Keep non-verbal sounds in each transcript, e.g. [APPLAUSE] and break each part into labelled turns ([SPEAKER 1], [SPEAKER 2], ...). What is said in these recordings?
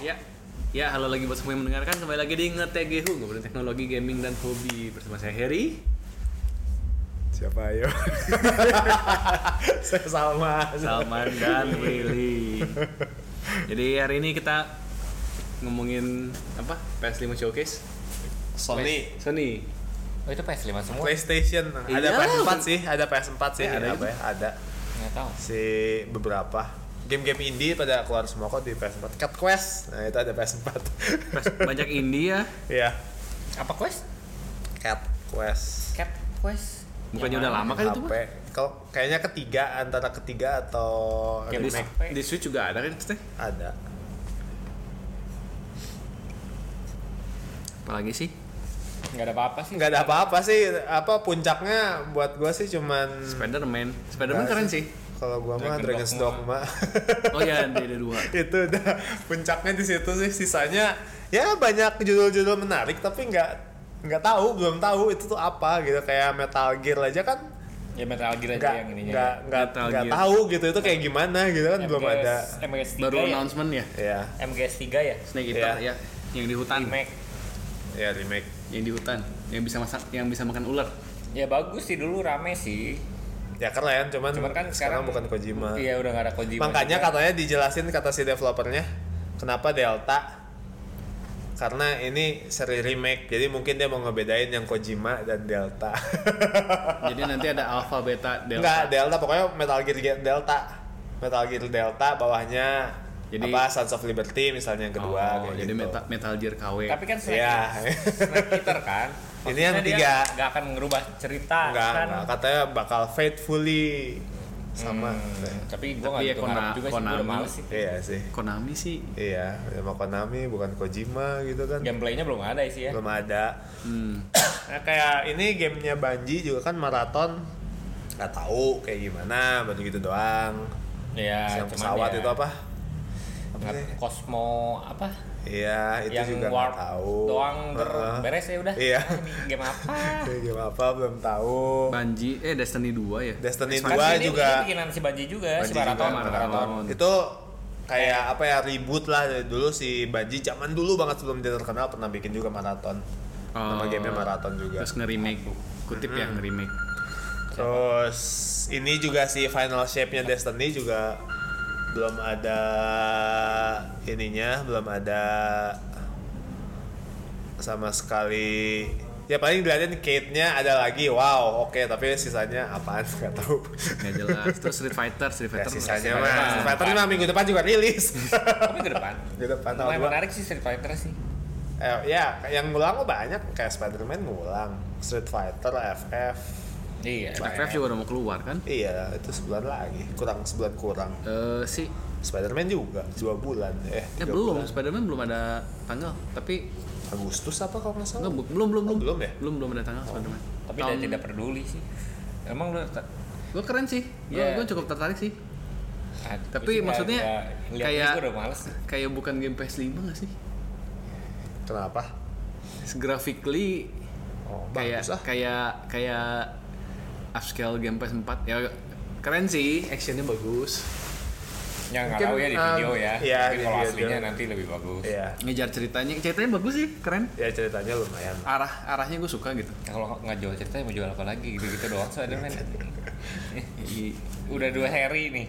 [SPEAKER 1] Ya. Ya, halo lagi buat semua yang mendengarkan. Kembali lagi di Ngetegehu, ngobrolin teknologi, gaming, dan hobi. Bersama saya Heri.
[SPEAKER 2] Siapa ayo? Saya Salman.
[SPEAKER 1] Salman [LAUGHS] dan Willy. Jadi hari ini kita ngomongin apa? PS5 Showcase.
[SPEAKER 2] Sony.
[SPEAKER 1] Sony.
[SPEAKER 3] Oh itu PS5 semua?
[SPEAKER 2] PlayStation. Ada
[SPEAKER 1] Iya.
[SPEAKER 2] PS4 sih, ada PS4 sih,
[SPEAKER 1] Iya,
[SPEAKER 2] ada
[SPEAKER 1] ada
[SPEAKER 2] apa
[SPEAKER 1] juga.
[SPEAKER 2] ya? Ada
[SPEAKER 3] Nggak tahu.
[SPEAKER 2] si beberapa game-game indie pada keluar semua kok di PS4. Cat Quest. Nah, itu ada PS4.
[SPEAKER 1] Pres- Banyak ya. India.
[SPEAKER 2] [LAUGHS] Iya.
[SPEAKER 3] Apa quest?
[SPEAKER 2] Cat Quest.
[SPEAKER 3] Cat quest?
[SPEAKER 1] Bukannya
[SPEAKER 3] Yang
[SPEAKER 1] udah
[SPEAKER 3] mana?
[SPEAKER 1] lama kan itu?
[SPEAKER 2] HP.
[SPEAKER 1] Pak?
[SPEAKER 2] Kalau kayaknya ketiga antara ketiga atau
[SPEAKER 3] Game
[SPEAKER 1] Di,
[SPEAKER 2] remake
[SPEAKER 3] HP.
[SPEAKER 1] di Switch juga ada kan pasti.
[SPEAKER 2] ada.
[SPEAKER 1] Apalagi sih?
[SPEAKER 3] Nggak ada apa-apa sih.
[SPEAKER 2] Nggak ada apa-apa sih. Apa puncaknya buat gua sih cuman
[SPEAKER 1] Spider-Man. Spider-Man keren Nah, sih.
[SPEAKER 2] kalau gua mah
[SPEAKER 3] Dragon
[SPEAKER 2] Dragon's
[SPEAKER 3] Dogma.
[SPEAKER 2] Dogma.
[SPEAKER 1] Oh iya, ada ada [LAUGHS] dua.
[SPEAKER 2] itu udah puncaknya di situ sih sisanya ya banyak judul-judul menarik tapi nggak nggak tahu belum tahu itu tuh apa gitu kayak Metal Gear aja kan
[SPEAKER 3] Ya Metal Gear aja
[SPEAKER 2] nggak
[SPEAKER 3] yang ininya.
[SPEAKER 2] nggak nggak
[SPEAKER 1] Metal
[SPEAKER 2] nggak
[SPEAKER 1] Gear.
[SPEAKER 2] tahu gitu itu kayak gimana gitu kan belum
[SPEAKER 3] MGS
[SPEAKER 2] ada
[SPEAKER 3] MGS 3
[SPEAKER 1] Baru
[SPEAKER 3] ya?
[SPEAKER 1] announcement ya.
[SPEAKER 2] ya
[SPEAKER 3] MGS 3 ya?
[SPEAKER 1] Snake Eater ya,
[SPEAKER 2] Iya.
[SPEAKER 1] yang di hutan.
[SPEAKER 3] Remake.
[SPEAKER 2] ya remake
[SPEAKER 1] Yang di hutan, yang bisa masak, yang bisa makan ular.
[SPEAKER 3] Ya bagus sih dulu rame sih.
[SPEAKER 2] ya keren cuman,
[SPEAKER 3] Cuman kan
[SPEAKER 2] sekarang,
[SPEAKER 3] sekarang-
[SPEAKER 2] bukan Kojima
[SPEAKER 3] Iya udah nggak ada Kojima.
[SPEAKER 2] makanya
[SPEAKER 3] juga.
[SPEAKER 2] katanya dijelasin kata si developernya kenapa Delta karena ini seri remake jadi mungkin dia mau ngebedain yang Kojima dan Delta [LAUGHS]
[SPEAKER 1] Jadi nanti ada alpha, beta, delta.
[SPEAKER 2] Enggak, Delta pokoknya Metal Gear Ge- Delta. Metal Gear Delta bawahnya
[SPEAKER 1] Jadi-
[SPEAKER 2] apa Sons of Liberty misalnya yang kedua
[SPEAKER 1] Oh,
[SPEAKER 2] kayak
[SPEAKER 1] jadi
[SPEAKER 2] gitu.
[SPEAKER 1] meta- Metal Gear KW.
[SPEAKER 3] Tapi kan Snake,
[SPEAKER 2] Iya.
[SPEAKER 3] Snake Eater kan.
[SPEAKER 2] [LAUGHS] Ini yang
[SPEAKER 3] Maksudnya dia
[SPEAKER 2] ketiga.
[SPEAKER 3] Nggak akan ngerubah cerita
[SPEAKER 2] enggak,
[SPEAKER 3] kan.
[SPEAKER 2] enggak, katanya bakal faithfully sama.
[SPEAKER 3] Hmm, tapi gue
[SPEAKER 1] Tapi
[SPEAKER 3] nggak
[SPEAKER 1] ya
[SPEAKER 3] gitu harap
[SPEAKER 1] Kona-
[SPEAKER 3] juga sih. Gue udah
[SPEAKER 1] Konami.
[SPEAKER 3] males sih.
[SPEAKER 2] Iya sih.
[SPEAKER 1] Konami sih
[SPEAKER 2] Iya, sama Konami bukan Kojima gitu kan.
[SPEAKER 3] Gameplaynya belum ada sih ya.
[SPEAKER 2] Belum ada.
[SPEAKER 1] hmm,
[SPEAKER 2] Nah, kayak ini gamenya Banji juga kan maraton nggak tahu kayak gimana baru gitu doang
[SPEAKER 3] Ya,
[SPEAKER 2] yang
[SPEAKER 3] cuman
[SPEAKER 2] pesawat
[SPEAKER 3] ya,
[SPEAKER 2] itu apa apa
[SPEAKER 3] nggak-
[SPEAKER 2] sih?
[SPEAKER 3] Cosmo apa?
[SPEAKER 2] iya itu
[SPEAKER 3] yang
[SPEAKER 2] juga nggak
[SPEAKER 3] warp
[SPEAKER 2] tahu
[SPEAKER 3] doang ber-
[SPEAKER 2] Heeh.
[SPEAKER 3] beres ya udah.
[SPEAKER 2] Iya.
[SPEAKER 3] Ah, [LAUGHS] ini game
[SPEAKER 2] [LAUGHS]
[SPEAKER 3] apa?
[SPEAKER 2] Kayak game apa belum tahu.
[SPEAKER 1] Banji eh Destiny 2 ya.
[SPEAKER 2] Oh. Destiny
[SPEAKER 3] Kan
[SPEAKER 2] 2
[SPEAKER 3] ini-
[SPEAKER 2] juga
[SPEAKER 3] ini bikinan si Banji juga, si
[SPEAKER 2] Banji
[SPEAKER 3] Maraton,
[SPEAKER 2] juga,
[SPEAKER 3] Maraton.
[SPEAKER 1] Maraton.
[SPEAKER 2] itu kayak apa ya ribut lah dari dulu si Banji zaman dulu banget sebelum dia terkenal pernah bikin juga maraton. Nama
[SPEAKER 1] Oh.
[SPEAKER 2] gamenya maraton juga.
[SPEAKER 1] Terus nge-remake. Kutip ya
[SPEAKER 2] Hmm.
[SPEAKER 1] nge-remake.
[SPEAKER 2] Terus ini juga si final shape-nya Destiny juga belum ada ininya, belum ada sama sekali ya paling dilihatin Kate-nya ada lagi wow oke tapi sisanya apaan nggak tahu
[SPEAKER 1] Nggak jelas. Terus Street Fighter, Street
[SPEAKER 2] ya,
[SPEAKER 1] Fighter.
[SPEAKER 2] sisanya
[SPEAKER 3] Street
[SPEAKER 2] mah
[SPEAKER 3] Fighter.
[SPEAKER 2] Street Fighter mah minggu depan juga rilis
[SPEAKER 3] Tapi ke depan.
[SPEAKER 2] [LAUGHS] minggu depan tahun
[SPEAKER 3] Mulai
[SPEAKER 2] dua
[SPEAKER 3] menarik sih Street Fighter sih.
[SPEAKER 2] eh, ya yang ngulang mah banyak kayak Spider-Man ngulang Street Fighter FF
[SPEAKER 3] Iya.
[SPEAKER 1] FF juga udah mau keluar kan?
[SPEAKER 2] iya itu sebulan lagi kurang sebulan kurang
[SPEAKER 1] Eh sih,
[SPEAKER 2] Spider-Man juga dua bulan eh
[SPEAKER 1] ya
[SPEAKER 2] tiga
[SPEAKER 1] belum.
[SPEAKER 2] bulan.
[SPEAKER 1] Spider-Man belum ada tanggal. Tapi
[SPEAKER 2] Agustus apa kalau nggak salah
[SPEAKER 1] enggak, bu- belum belum
[SPEAKER 2] Oh,
[SPEAKER 1] belum.
[SPEAKER 2] belum Oh, ya?
[SPEAKER 1] Belum belum ada tanggal Spider-Man.
[SPEAKER 3] Tapi dia tidak peduli sih. Emang lu ta-
[SPEAKER 1] Gue keren sih. Gue
[SPEAKER 3] Ya.
[SPEAKER 1] cukup tertarik sih.
[SPEAKER 3] ah,
[SPEAKER 1] Tapi
[SPEAKER 3] gua sih
[SPEAKER 1] maksudnya
[SPEAKER 3] nggak- nggak- lihat
[SPEAKER 1] kayak-
[SPEAKER 3] ini gua udah males. Ya,
[SPEAKER 1] Kayak bukan game PS5 gak sih?
[SPEAKER 2] kenapa
[SPEAKER 1] Graphically
[SPEAKER 2] oh,
[SPEAKER 1] kayak
[SPEAKER 2] bagus ah
[SPEAKER 1] kayak kayak upscale game PS4 ya keren sih actionnya bagus
[SPEAKER 3] Ya nggak
[SPEAKER 2] Mungkin,
[SPEAKER 3] tahu ya di
[SPEAKER 1] eh,
[SPEAKER 2] um,
[SPEAKER 3] video ya.
[SPEAKER 2] iya,
[SPEAKER 3] Mungkin
[SPEAKER 2] di
[SPEAKER 3] kalau
[SPEAKER 2] video.
[SPEAKER 3] aslinya nanti lebih bagus.
[SPEAKER 2] iya
[SPEAKER 1] ngejar ceritanya ceritanya bagus sih keren
[SPEAKER 2] ya ceritanya lumayan
[SPEAKER 1] arah arahnya gue suka gitu
[SPEAKER 3] Nah, Kalau nggak jual cerita mau jual apa lagi gitu-gitu doang
[SPEAKER 2] [LAUGHS]
[SPEAKER 3] Spider-Man.
[SPEAKER 1] Jadi,
[SPEAKER 3] udah dua hari nih.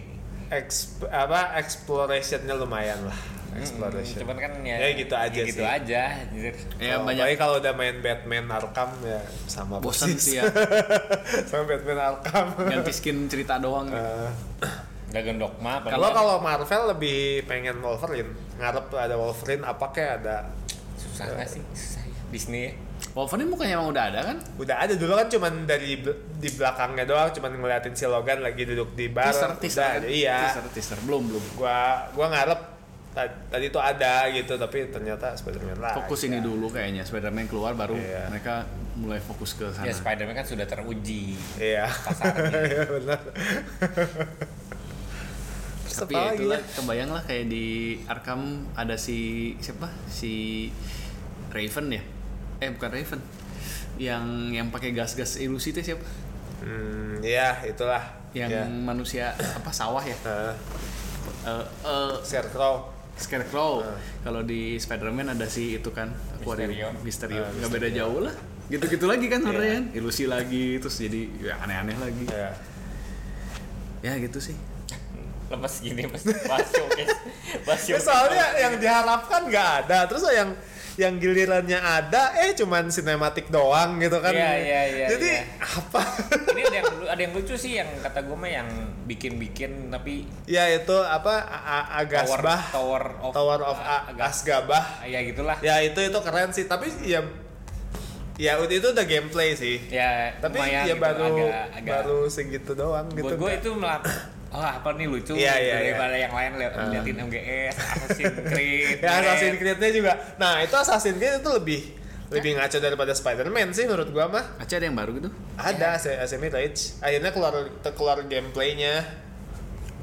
[SPEAKER 2] Exp- apa explorationnya lumayan lah
[SPEAKER 3] Hmm,
[SPEAKER 2] exploration
[SPEAKER 3] Cuman kan ya,
[SPEAKER 2] Ya, gitu aja
[SPEAKER 3] ya gitu
[SPEAKER 2] sih.
[SPEAKER 3] aja. anjir.
[SPEAKER 1] ya
[SPEAKER 2] Kalau-
[SPEAKER 1] banyak
[SPEAKER 2] apalagi kalau udah main Batman Arkham ya sama
[SPEAKER 1] bosan
[SPEAKER 2] persis.
[SPEAKER 1] sih ya
[SPEAKER 2] sama Batman Arkham
[SPEAKER 1] ganti skin cerita doang gitu.
[SPEAKER 2] Eh,
[SPEAKER 3] Dragon Dogma apa
[SPEAKER 2] kalau
[SPEAKER 3] enggak?
[SPEAKER 2] kalau Marvel lebih pengen Wolverine ngarep ada Wolverine apa kayak ada
[SPEAKER 3] susah nggak sih susah ya. Disney ya
[SPEAKER 1] Wolverine mukanya emang udah ada kan
[SPEAKER 2] udah ada dulu kan cuman dari bel- di belakangnya doang cuman ngeliatin si Logan lagi duduk di bar
[SPEAKER 1] teaser
[SPEAKER 2] udah
[SPEAKER 1] teaser kan?
[SPEAKER 2] ada. iya
[SPEAKER 1] teaser teaser belum belum
[SPEAKER 2] gua gua ngarep ta- tadi tuh ada gitu tapi ternyata Spider-Man lah
[SPEAKER 1] fokus ini dulu kayaknya Spider-Man keluar baru
[SPEAKER 2] Ah, Iya.
[SPEAKER 1] mereka mulai fokus ke sana
[SPEAKER 3] ya Spider-Man kan sudah teruji
[SPEAKER 2] iya [LAUGHS] Iya, benar Terus
[SPEAKER 1] tapi
[SPEAKER 2] apa
[SPEAKER 1] ya
[SPEAKER 2] lagi
[SPEAKER 1] itulah
[SPEAKER 2] ya?
[SPEAKER 1] kebayang lah kayak di Arkham ada si siapa si Raven ya eh bukan Raven yang yang pakai gas-gas ilusi itu siapa
[SPEAKER 2] hmm ya itulah
[SPEAKER 1] yang
[SPEAKER 2] ya.
[SPEAKER 1] manusia apa sawah ya
[SPEAKER 2] Nah,
[SPEAKER 1] Eh, eh,
[SPEAKER 2] Scarecrow
[SPEAKER 1] Scarecrow.
[SPEAKER 2] Ah.
[SPEAKER 1] Kalau di Spider-Man ada si itu kan, Aquarium, Misterio.
[SPEAKER 2] Ah,
[SPEAKER 1] Nggak beda jauh lah. Gitu-gitu lagi kan sebenarnya kan. Ilusi lagi terus jadi ya aneh-aneh lagi.
[SPEAKER 2] Iya.
[SPEAKER 1] Ya gitu sih.
[SPEAKER 3] Lepas gini
[SPEAKER 2] [LAUGHS]
[SPEAKER 3] mas, bahas showcase. Bahas
[SPEAKER 2] Ya,
[SPEAKER 3] showcase.
[SPEAKER 2] soalnya yang diharapkan nggak ada, terus yang yang gilirannya ada, eh cuman sinematik doang gitu kan.
[SPEAKER 3] Iya, iya, iya,
[SPEAKER 2] Jadi
[SPEAKER 3] iya.
[SPEAKER 2] apa? [LAUGHS]
[SPEAKER 3] Ini ada yang, lu- ada yang lucu sih yang kata gue mah yang bikin-bikin tapi
[SPEAKER 2] ya itu apa? A- A-
[SPEAKER 3] tower
[SPEAKER 2] Agasbah,
[SPEAKER 3] tower of
[SPEAKER 2] Tower of A-
[SPEAKER 3] Agas.
[SPEAKER 2] Asgabah.
[SPEAKER 3] Ya gitulah.
[SPEAKER 2] Ya itu itu keren sih, tapi ya ya itu udah gameplay sih.
[SPEAKER 3] Ya,
[SPEAKER 2] Tapi ya
[SPEAKER 3] lumayan gitu,
[SPEAKER 2] baru
[SPEAKER 3] agak, agak
[SPEAKER 2] baru segitu doang gitu.
[SPEAKER 3] buat gue itu melak [COUGHS] oh apa nih lucu
[SPEAKER 2] Iya, iya, Ah.
[SPEAKER 3] daripada yang lain lihat liatin MGS Assassin's
[SPEAKER 2] [LAUGHS]
[SPEAKER 3] Creed
[SPEAKER 2] Ya Assassin's Creed-nya juga. Nah, itu Assassin's Creed itu lebih lebih ngaco daripada Spider-Man sih menurut gua mah.
[SPEAKER 1] Aceh ada yang baru gitu?
[SPEAKER 2] Ada AC Assassin's Creed. E Akhirnya keluar keluar gameplaynya.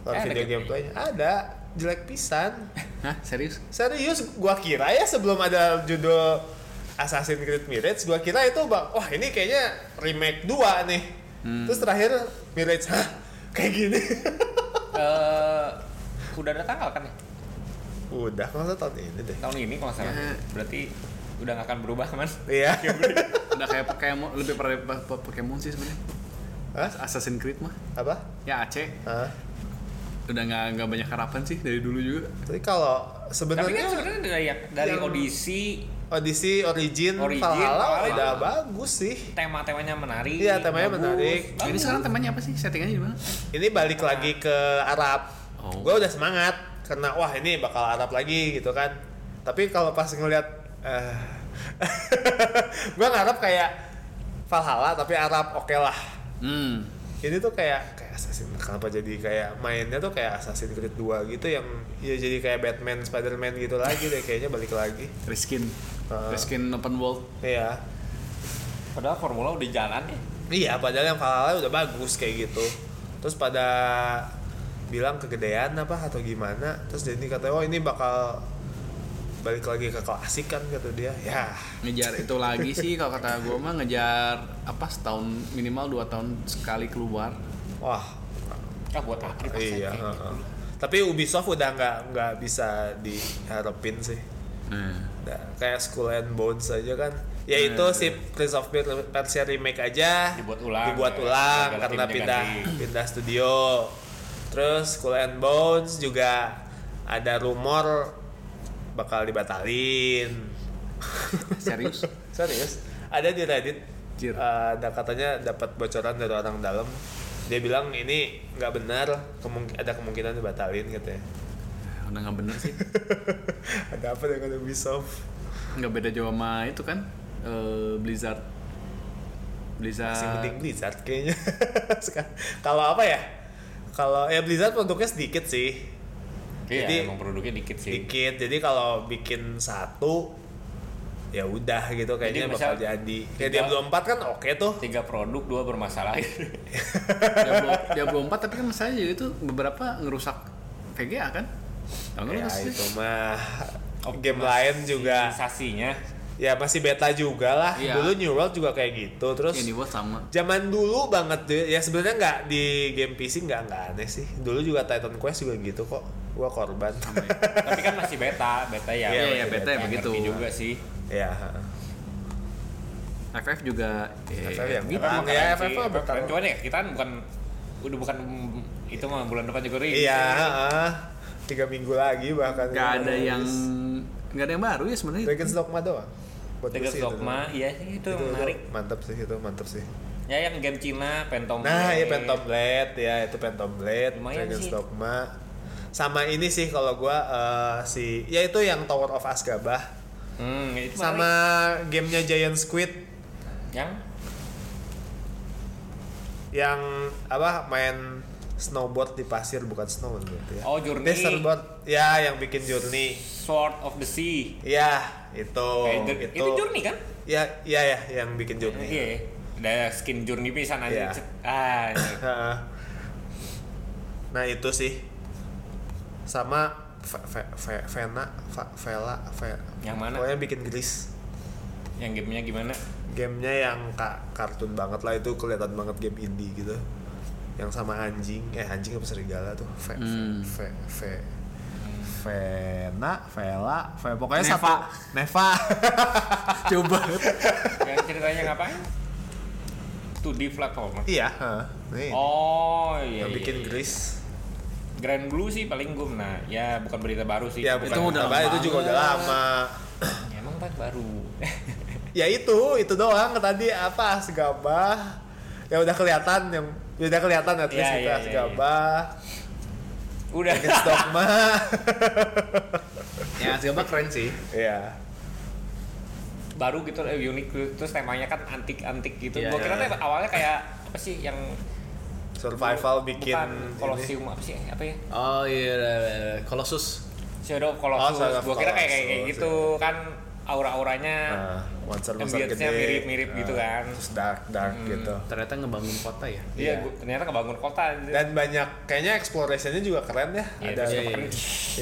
[SPEAKER 2] Keluar
[SPEAKER 3] Eh, ada
[SPEAKER 2] video
[SPEAKER 3] gameplay.
[SPEAKER 2] gameplaynya. Ada jelek pisan.
[SPEAKER 1] Eh, Hah, serius?
[SPEAKER 2] Serius gua kira ya sebelum ada judul Assassin's Creed Mirage gua kira itu bak wah ini kayaknya remake 2 nih. Terus terakhir Mirage hah kayak gini. [LAUGHS]
[SPEAKER 3] Eh, udah ada tanggal kan ya
[SPEAKER 2] Udah masa tahun ini deh.
[SPEAKER 3] tahun ini kalau nggak salah
[SPEAKER 1] Ya.
[SPEAKER 3] berarti udah nggak akan berubah man
[SPEAKER 2] Iya.
[SPEAKER 1] Udah kayak Pokemon, lebih pada pa- pa- Pokemon sih sebenarnya.
[SPEAKER 2] Hah?
[SPEAKER 1] Assassin's Creed mah.
[SPEAKER 2] Apa?
[SPEAKER 1] Ya Aceh
[SPEAKER 2] Hah?
[SPEAKER 1] udah nggak nggak banyak harapan sih dari dulu juga.
[SPEAKER 2] Tapi kalau
[SPEAKER 3] tapi kan
[SPEAKER 2] sebenarnya
[SPEAKER 3] sebenarnya dari dari
[SPEAKER 2] yang-
[SPEAKER 3] audisi
[SPEAKER 2] Odyssey Origin,
[SPEAKER 3] Origin,
[SPEAKER 2] Valhalla
[SPEAKER 3] Valhalla.
[SPEAKER 2] udah bagus sih.
[SPEAKER 3] tema-temanya menarik
[SPEAKER 2] Iya, temanya menarik.
[SPEAKER 1] Ini
[SPEAKER 3] bagus.
[SPEAKER 1] sekarang temanya apa sih? Settingannya di mana?
[SPEAKER 2] Ini balik lagi ke Arab.
[SPEAKER 1] Oh.
[SPEAKER 2] Gue udah semangat karena wah ini bakal Arab lagi gitu kan. Tapi kalau pas ngeliat eh [LAUGHS] gue ngarep kayak Valhalla tapi Arab oke lah.
[SPEAKER 1] Hmm.
[SPEAKER 2] Ini tuh kayak kayak Assassin kenapa jadi kayak mainnya tuh kayak Assassin's Creed 2 gitu yang ya jadi kayak Batman, Spider-Man gitu lagi deh kayaknya balik lagi.
[SPEAKER 1] Reskin.
[SPEAKER 2] Ah.
[SPEAKER 1] Reskin open world.
[SPEAKER 2] Iya.
[SPEAKER 3] padahal formula udah jalan ya
[SPEAKER 2] Iya, padahal yang Valhalla udah bagus kayak gitu. Terus pada bilang kegedean apa atau gimana, terus jadi katanya oh ini bakal balik lagi ke klasik kan kata dia. Ya,
[SPEAKER 1] ngejar itu lagi sih kalau kata gue mah ngejar apa setahun minimal dua tahun sekali keluar
[SPEAKER 2] wah
[SPEAKER 3] ah buat apa sih?
[SPEAKER 2] iya. heeh. Tapi Ubisoft udah nggak nggak bisa diharapin sih.
[SPEAKER 1] Eh.
[SPEAKER 2] Nah, kayak School and Bones aja kan. Ya itu si Prince of Persia remake aja
[SPEAKER 3] Dibuat ulang.
[SPEAKER 2] Dibuat
[SPEAKER 3] Ya,
[SPEAKER 2] ulang
[SPEAKER 3] ganti
[SPEAKER 2] karena
[SPEAKER 3] ganti.
[SPEAKER 2] pindah pindah studio. Terus School and Bones juga ada rumor bakal dibatalin.
[SPEAKER 1] serius
[SPEAKER 2] Serius? Ada di Reddit.
[SPEAKER 1] Jir.
[SPEAKER 2] eh, ada katanya dapat bocoran dari orang dalam. Dia bilang ini nggak benar, kemung- ada kemungkinan dibatalin katanya.
[SPEAKER 1] [LAUGHS]
[SPEAKER 2] [LAUGHS]
[SPEAKER 1] udah nggak bener sih
[SPEAKER 2] ada apa dengan Ubisoft?
[SPEAKER 1] nggak beda jauh sama itu kan eh, Blizzard
[SPEAKER 2] Masih
[SPEAKER 3] Eh,
[SPEAKER 2] mending
[SPEAKER 1] Blizzard
[SPEAKER 2] Blizzard kayaknya. [LAUGHS] Sekarang- Kalau apa ya? Kalau ya Blizzard produknya sedikit sih.
[SPEAKER 3] Iya,
[SPEAKER 2] Jadi-
[SPEAKER 3] emang produknya dikit sih
[SPEAKER 2] Sedikit. Jadi kalau bikin satu ya udah gitu kayaknya
[SPEAKER 3] Jadi
[SPEAKER 2] bakal
[SPEAKER 3] misal
[SPEAKER 2] jadi. Kayak
[SPEAKER 3] tiga-
[SPEAKER 2] Diablo 4 kan oke tuh.
[SPEAKER 3] tiga produk dua bermasalah
[SPEAKER 1] Diablo, Diablo 4 tapi kan masalahnya juga itu beberapa ngerusak VGA kan kalau nggak
[SPEAKER 2] Ya
[SPEAKER 3] Hmm.
[SPEAKER 1] lu ngasih-
[SPEAKER 2] itu mah
[SPEAKER 3] [LAUGHS]
[SPEAKER 2] game lain juga
[SPEAKER 3] sensasinya
[SPEAKER 2] ya masih beta juga lah.
[SPEAKER 1] Iya.
[SPEAKER 2] Dulu New World juga kayak gitu. Terus
[SPEAKER 3] Iya,
[SPEAKER 1] ya dibuat sama
[SPEAKER 2] Zaman dulu banget deh. ya sebenarnya nggak di game PC nggak nggak aneh sih. Dulu juga Titan Quest juga gitu kok. Gua korban.
[SPEAKER 3] tapi kan masih beta beta
[SPEAKER 2] Iya,
[SPEAKER 3] ya
[SPEAKER 2] iya,
[SPEAKER 3] masih
[SPEAKER 1] beta ya
[SPEAKER 3] yang
[SPEAKER 1] begitu.
[SPEAKER 3] ngerti juga sih
[SPEAKER 2] [LAUGHS] ya. heeh.
[SPEAKER 1] FF juga eh,
[SPEAKER 2] FF yang
[SPEAKER 1] gitu.
[SPEAKER 2] Bang,
[SPEAKER 3] Emang
[SPEAKER 2] ya,
[SPEAKER 3] keren
[SPEAKER 2] FF
[SPEAKER 3] sih,
[SPEAKER 2] mah
[SPEAKER 3] emang
[SPEAKER 2] bukan-
[SPEAKER 3] keren. cuman ya kita bukan udah bukan itu mah bulan depan juga rilis
[SPEAKER 2] Iya, heeh. tiga minggu lagi bahkan.
[SPEAKER 1] nggak ada yang nggak ada yang baru ya sebenarnya
[SPEAKER 2] Dragon's Dogma doang. Buat
[SPEAKER 3] Tegas
[SPEAKER 2] kursi itu
[SPEAKER 3] Dogma
[SPEAKER 2] doang.
[SPEAKER 3] iya itu,
[SPEAKER 2] Itu
[SPEAKER 3] menarik
[SPEAKER 2] Mantap sih itu, mantap sih.
[SPEAKER 3] ya yang game Cina Phantom
[SPEAKER 2] Nah,
[SPEAKER 3] Blade.
[SPEAKER 2] ya Phantom Blade, ya itu Phantom Blade,
[SPEAKER 3] Lumayan
[SPEAKER 2] Dragon's
[SPEAKER 3] sih.
[SPEAKER 2] Dogma. Sama ini sih kalau gua eh, si ya itu yang Tower of Azkaban
[SPEAKER 3] hmm, itu
[SPEAKER 2] sama
[SPEAKER 3] menarik.
[SPEAKER 2] gamenya Giant Squid
[SPEAKER 3] yang
[SPEAKER 2] yang apa main snowboard di pasir bukan snow gitu ya.
[SPEAKER 3] Oh, Journey.
[SPEAKER 2] Dessertboard. Ya, yang bikin journey.
[SPEAKER 3] Sword of the Sea
[SPEAKER 2] Ya, itu.
[SPEAKER 3] Eh, itu, itu Journey kan
[SPEAKER 2] Ya, ya ya yang bikin journey.
[SPEAKER 3] iya ada skin Journey pisan
[SPEAKER 2] Iya.
[SPEAKER 3] aja ah iya.
[SPEAKER 2] Heeh. nah, itu sih. Sama Ve- Ve- Ve- Vena, Ve- Vela, Ve-
[SPEAKER 3] Yang mana?
[SPEAKER 2] Pokoknya bikin gris.
[SPEAKER 3] yang gamenya gimana
[SPEAKER 2] Gamenya yang kak kartun banget lah itu kelihatan banget game indie gitu.
[SPEAKER 3] Hmm.
[SPEAKER 2] Yang sama anjing, eh anjing apa serigala tuh? Ve, Ve, Ve, Ve- Vena, Vela, Ve- pokoknya
[SPEAKER 1] Neva.
[SPEAKER 2] satu Neva.
[SPEAKER 1] [LAUGHS]
[SPEAKER 2] [LAUGHS]
[SPEAKER 1] Coba.
[SPEAKER 3] yang ceritanya ngapain? 2D platformer.
[SPEAKER 2] iya, heeh. Nih,
[SPEAKER 3] Oh iya.
[SPEAKER 2] yang
[SPEAKER 3] iya.
[SPEAKER 2] bikin Grease.
[SPEAKER 3] Grand Blue sih paling gue nah ya bukan berita baru sih.
[SPEAKER 2] Ya,
[SPEAKER 3] Cuma-
[SPEAKER 2] bukan
[SPEAKER 1] Itu udah
[SPEAKER 2] apa,
[SPEAKER 1] lama
[SPEAKER 2] itu juga udah
[SPEAKER 1] banget.
[SPEAKER 2] lama.
[SPEAKER 3] Ya, emang tak baru. [LAUGHS]
[SPEAKER 2] Ya itu, itu doang tadi apa segabah. Ya udah kelihatan yang ya udah kelihatan at least
[SPEAKER 3] Iya,
[SPEAKER 2] itu
[SPEAKER 3] iya, iya,
[SPEAKER 2] segabah.
[SPEAKER 3] Udah.
[SPEAKER 2] Against
[SPEAKER 3] [LAUGHS]
[SPEAKER 2] Dogma.
[SPEAKER 1] ya siapa keren sih.
[SPEAKER 2] Iya.
[SPEAKER 3] baru gitu eh, unik gitu. terus temanya kan antik-antik gitu.
[SPEAKER 1] Iya,
[SPEAKER 3] Gua kira
[SPEAKER 2] iya.
[SPEAKER 3] tuh awalnya kayak apa sih yang
[SPEAKER 2] Survival bikin
[SPEAKER 3] bukan
[SPEAKER 2] ini.
[SPEAKER 3] kolosium apa sih apa ya?
[SPEAKER 1] Oh iya, iya, iya. Colossus.
[SPEAKER 3] Shadow of
[SPEAKER 2] Oh,
[SPEAKER 3] Colossus.
[SPEAKER 2] Shadow of
[SPEAKER 3] Gua kira kayak kayak
[SPEAKER 2] Colossus, iya.
[SPEAKER 3] gitu kan aura-auranya
[SPEAKER 2] Nah, monster-monster
[SPEAKER 3] ambience-nya
[SPEAKER 2] gede.
[SPEAKER 3] mirip-mirip gitu
[SPEAKER 2] nah,
[SPEAKER 3] kan.
[SPEAKER 2] Terus dark dark gitu.
[SPEAKER 1] Ternyata ngebangun kota ya.
[SPEAKER 3] Iya,
[SPEAKER 2] Iya.
[SPEAKER 3] gua- ternyata kebangun kota. anjir.
[SPEAKER 2] Dan banyak kayaknya exploration-nya juga keren ya.
[SPEAKER 3] Iya,
[SPEAKER 2] Ada
[SPEAKER 3] terus
[SPEAKER 1] iya,
[SPEAKER 3] kemarin-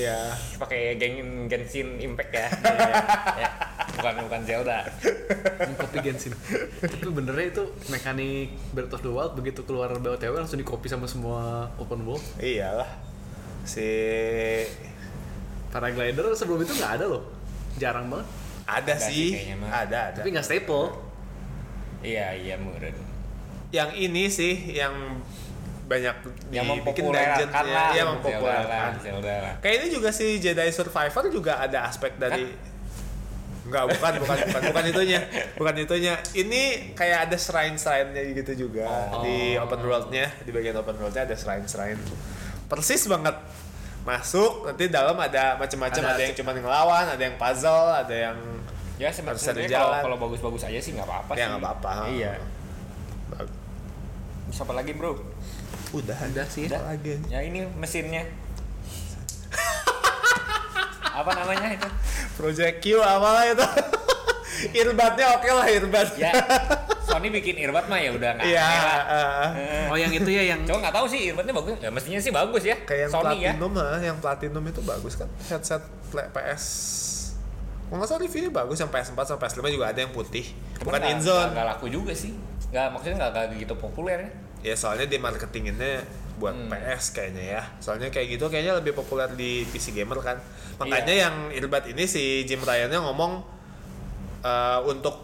[SPEAKER 2] Iya.
[SPEAKER 3] pakai geng Genshin Impact
[SPEAKER 2] [LAUGHS]
[SPEAKER 3] ya. Ya, bukan bukan Zelda.
[SPEAKER 1] Copy Genshin. Tapi benernya itu mekanik Breath of the Wild begitu keluar BOTW langsung di-copy sama semua open world.
[SPEAKER 2] Iyalah. Si
[SPEAKER 1] Paraglider sebelum itu nggak ada loh. Jarang banget.
[SPEAKER 2] ada
[SPEAKER 3] Ada
[SPEAKER 2] sih,
[SPEAKER 3] sih kayaknya mah.
[SPEAKER 2] ada ada.
[SPEAKER 1] Tapi nggak staple.
[SPEAKER 3] Iya iya meren.
[SPEAKER 2] yang ini sih yang banyak
[SPEAKER 3] Yang
[SPEAKER 2] dibikin
[SPEAKER 3] mempopulerkan
[SPEAKER 2] dungeon, ya,
[SPEAKER 3] lah.
[SPEAKER 2] iya,
[SPEAKER 3] bukan Zelda lah,
[SPEAKER 2] mempopulerkan.
[SPEAKER 3] Zelda lah.
[SPEAKER 2] Kayak ini juga si Jedi Survivor juga ada aspek
[SPEAKER 3] Kan?
[SPEAKER 2] dari Enggak, bukan, bukan, bukan, bukan itunya, bukan itunya. Ini kayak ada shrine-shrine-nya gitu juga
[SPEAKER 3] Oh.
[SPEAKER 2] di open world-nya, di bagian open world-nya ada shrine-shrine. Persis banget. Masuk, nanti dalam ada macam-macam, ada,
[SPEAKER 1] Ada-
[SPEAKER 2] yang cuma ngelawan, ada yang puzzle, ada yang
[SPEAKER 3] Ya sebe-
[SPEAKER 2] Harus ada
[SPEAKER 3] sebenarnya
[SPEAKER 2] jalan.
[SPEAKER 3] kalau kalau bagus-bagus aja sih nggak apa-apa
[SPEAKER 2] Ya,
[SPEAKER 3] sih.
[SPEAKER 2] nggak apa-apa.
[SPEAKER 3] Iya.
[SPEAKER 2] Bag-
[SPEAKER 3] Siapa lagi bro?
[SPEAKER 2] udah,
[SPEAKER 1] Udah sih.
[SPEAKER 2] Apa lagi.
[SPEAKER 3] Ya ini
[SPEAKER 2] [LAUGHS]
[SPEAKER 3] mesinnya. apa namanya itu?
[SPEAKER 2] Project Q apalah itu. [LAUGHS] Earbud-nya oke lah earbud. [LAUGHS]
[SPEAKER 3] Ya Sony bikin earbud mah ya udah nggak
[SPEAKER 2] Iya,
[SPEAKER 3] aneh
[SPEAKER 2] [LAUGHS]
[SPEAKER 3] lah.
[SPEAKER 2] eh,
[SPEAKER 1] Oh yang itu ya
[SPEAKER 2] [LAUGHS]
[SPEAKER 1] yang
[SPEAKER 3] Cuma nggak tahu sih earbudnya bagus. Ya, mestinya sih bagus ya.
[SPEAKER 2] kayak yang
[SPEAKER 3] Sony ya.
[SPEAKER 2] platinum lah, yang platinum itu bagus kan headset pla- PS kalau nggak salah reviewnya bagus yang PS4 sama PS5 juga ada yang putih bukan
[SPEAKER 3] nggak-
[SPEAKER 2] inzone
[SPEAKER 3] nggak- nggak laku juga sih. Nggak maksudnya nggak nggak gitu populer [LAUGHS] ya.
[SPEAKER 2] ya soalnya di marketinginnya buat
[SPEAKER 3] Hmm.
[SPEAKER 2] PS kayaknya ya soalnya kayak gitu kayaknya lebih populer di PC gamer kan makanya
[SPEAKER 3] Iya.
[SPEAKER 2] yang earbud ini si Jim Ryan-nya ngomong eh, untuk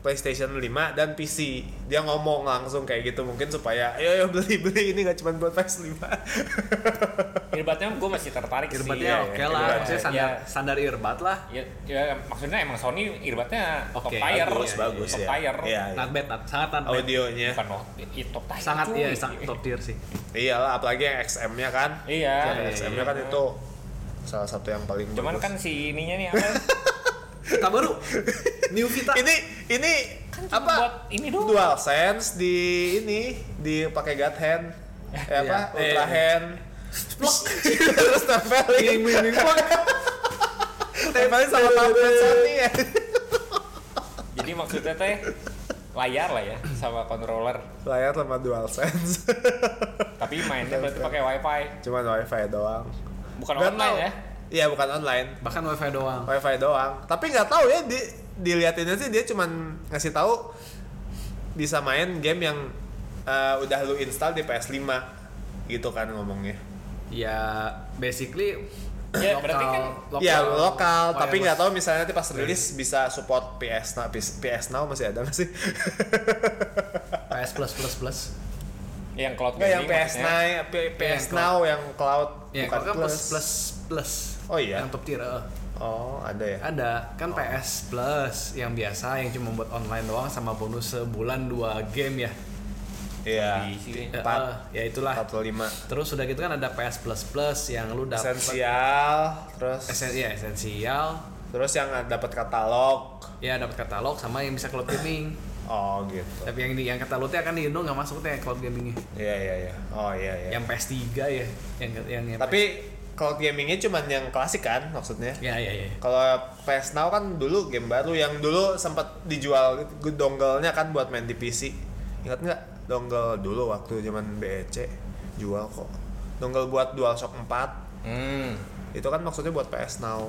[SPEAKER 2] PlayStation 5 dan PC dia ngomong langsung kayak gitu mungkin supaya ayo ayo beli beli ini nggak cuma buat PS5
[SPEAKER 3] Earbudnya gue masih tertarik sih.
[SPEAKER 1] earbudnya ya, oke
[SPEAKER 2] iya,
[SPEAKER 1] lah.
[SPEAKER 2] earbud.
[SPEAKER 1] Maksudnya standar standar earbud lah.
[SPEAKER 3] Ya, ya, maksudnya emang Sony earbudnya top
[SPEAKER 1] Oke,
[SPEAKER 3] tier.
[SPEAKER 2] bagus bagus
[SPEAKER 3] top
[SPEAKER 2] ya.
[SPEAKER 3] tier.
[SPEAKER 2] Iya, iya.
[SPEAKER 1] Not bad, not- sangat not bad.
[SPEAKER 2] Audionya.
[SPEAKER 3] Bukan no- i- top tier.
[SPEAKER 1] Sangat
[SPEAKER 3] cuy.
[SPEAKER 2] iya,
[SPEAKER 1] ya, sangat top tier sih.
[SPEAKER 2] Iyalah apalagi yang XM-nya kan.
[SPEAKER 3] Iya.
[SPEAKER 2] Yang XM-nya kan itu salah satu yang paling
[SPEAKER 3] Cuman kan
[SPEAKER 2] bagus.
[SPEAKER 3] si ininya nih apa?
[SPEAKER 1] Kita baru New Vita.
[SPEAKER 2] ini ini
[SPEAKER 3] cuma
[SPEAKER 2] [LAUGHS] apa
[SPEAKER 3] Kan buat ini doang.
[SPEAKER 2] dual sense di ini dipakai god hand eh, apa
[SPEAKER 1] Iya.
[SPEAKER 2] ultra
[SPEAKER 1] Eh.
[SPEAKER 2] hand terus
[SPEAKER 1] Ini-
[SPEAKER 2] tempelin
[SPEAKER 1] ini- ini.
[SPEAKER 2] tempelin sama tablet Sony ya
[SPEAKER 3] Jadi maksudnya teh layar lah ya sama controller.
[SPEAKER 2] layar sama dual sense
[SPEAKER 3] Tapi mainnya berarti pakai wifi,
[SPEAKER 2] cuman wifi doang
[SPEAKER 3] bukan
[SPEAKER 2] Nggak
[SPEAKER 3] online
[SPEAKER 2] tahu.
[SPEAKER 3] ya.
[SPEAKER 2] iya bukan online
[SPEAKER 1] Bahkan wifi doang.
[SPEAKER 2] wifi doang tapi nggak tahu ya di dilihatinnya sih dia cuman ngasih tahu bisa main game yang eh, udah lu install di PS5 gitu kan ngomongnya
[SPEAKER 1] Ya basically Oh,
[SPEAKER 3] Ya, berarti kan-
[SPEAKER 2] Iya lokal,
[SPEAKER 1] wireless.
[SPEAKER 2] tapi nggak tahu misalnya nanti pas rilis bisa support PS Now PS, PS Now masih ada nggak sih
[SPEAKER 1] PS plus plus plus.
[SPEAKER 3] Yang cloud
[SPEAKER 2] nggak yang
[SPEAKER 3] gaming
[SPEAKER 2] PS
[SPEAKER 3] maksudnya.
[SPEAKER 2] Now PS,
[SPEAKER 1] cloud.
[SPEAKER 2] Now yang cloud
[SPEAKER 1] Ya,
[SPEAKER 2] bukan
[SPEAKER 1] kalau kan plus plus plus.
[SPEAKER 2] Oh, iya?
[SPEAKER 1] Yang top tier. eh.
[SPEAKER 2] oh ada ya
[SPEAKER 1] Ada kan PS Plus yang biasa yang cuma buat online doang sama bonus sebulan dua game ya.
[SPEAKER 2] iya
[SPEAKER 3] Di sini.
[SPEAKER 1] Eh,
[SPEAKER 2] Empat.
[SPEAKER 1] eh, ya itulah.
[SPEAKER 2] 45
[SPEAKER 1] Terus udah gitu kan ada PS Plus Plus yang lu dapat
[SPEAKER 2] esensial terus
[SPEAKER 1] Esen- ya, esensial,
[SPEAKER 2] terus yang dapat katalog
[SPEAKER 1] ya dapat katalog sama yang bisa cloud gaming.
[SPEAKER 2] oh gitu
[SPEAKER 1] Tapi yang di yang katalognya kan di Indo nggak masuk teh cloud gamingnya.
[SPEAKER 2] Iya iya iya. Oh iya iya.
[SPEAKER 1] Yang PS3 ya, yang yang, yang
[SPEAKER 2] Tapi cloud gamingnya cuman yang klasik kan maksudnya.
[SPEAKER 1] ya ya ya.
[SPEAKER 2] Kalau PS Now kan dulu game baru yang dulu sempat dijual dongle-nya kan buat main di PC. Ingat nggak dongle dulu waktu zaman BEC jual kok. Dongle buat DualShock 4
[SPEAKER 3] Hmm.
[SPEAKER 2] itu kan maksudnya buat PS Now.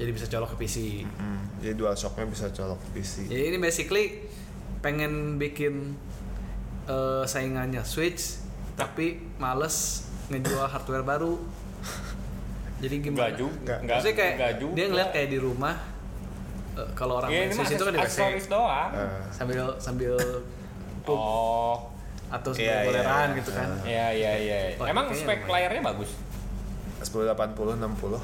[SPEAKER 1] Jadi bisa colok ke PC.
[SPEAKER 2] Hmm, jadi DualShock-nya bisa colok ke PC.
[SPEAKER 1] Jadi ini basically pengen bikin eh, saingannya Switch tapi males ngejual hardware baru. Jadi gimana?
[SPEAKER 3] Enggak juga.
[SPEAKER 2] Nggak. Iya,
[SPEAKER 3] Nggak-
[SPEAKER 1] Maksudnya kayak
[SPEAKER 3] nggak juga.
[SPEAKER 1] dia ngeliat kayak di rumah eh, kalau orang
[SPEAKER 3] Ya, ini mah
[SPEAKER 1] Indonesia itu kan di WC Ah.
[SPEAKER 3] aksesoris doang.
[SPEAKER 2] Eh,
[SPEAKER 1] sambil sambil
[SPEAKER 3] Oh.
[SPEAKER 1] atau
[SPEAKER 2] Iya,
[SPEAKER 1] sambil
[SPEAKER 2] iya,
[SPEAKER 1] goleran
[SPEAKER 2] iya.
[SPEAKER 1] gitu kan.
[SPEAKER 3] Iya iya iya.
[SPEAKER 1] Wah,
[SPEAKER 3] Emang
[SPEAKER 1] Oh, kayaknya
[SPEAKER 3] spek
[SPEAKER 1] lumayan.
[SPEAKER 3] layarnya bagus.
[SPEAKER 2] 1080 60.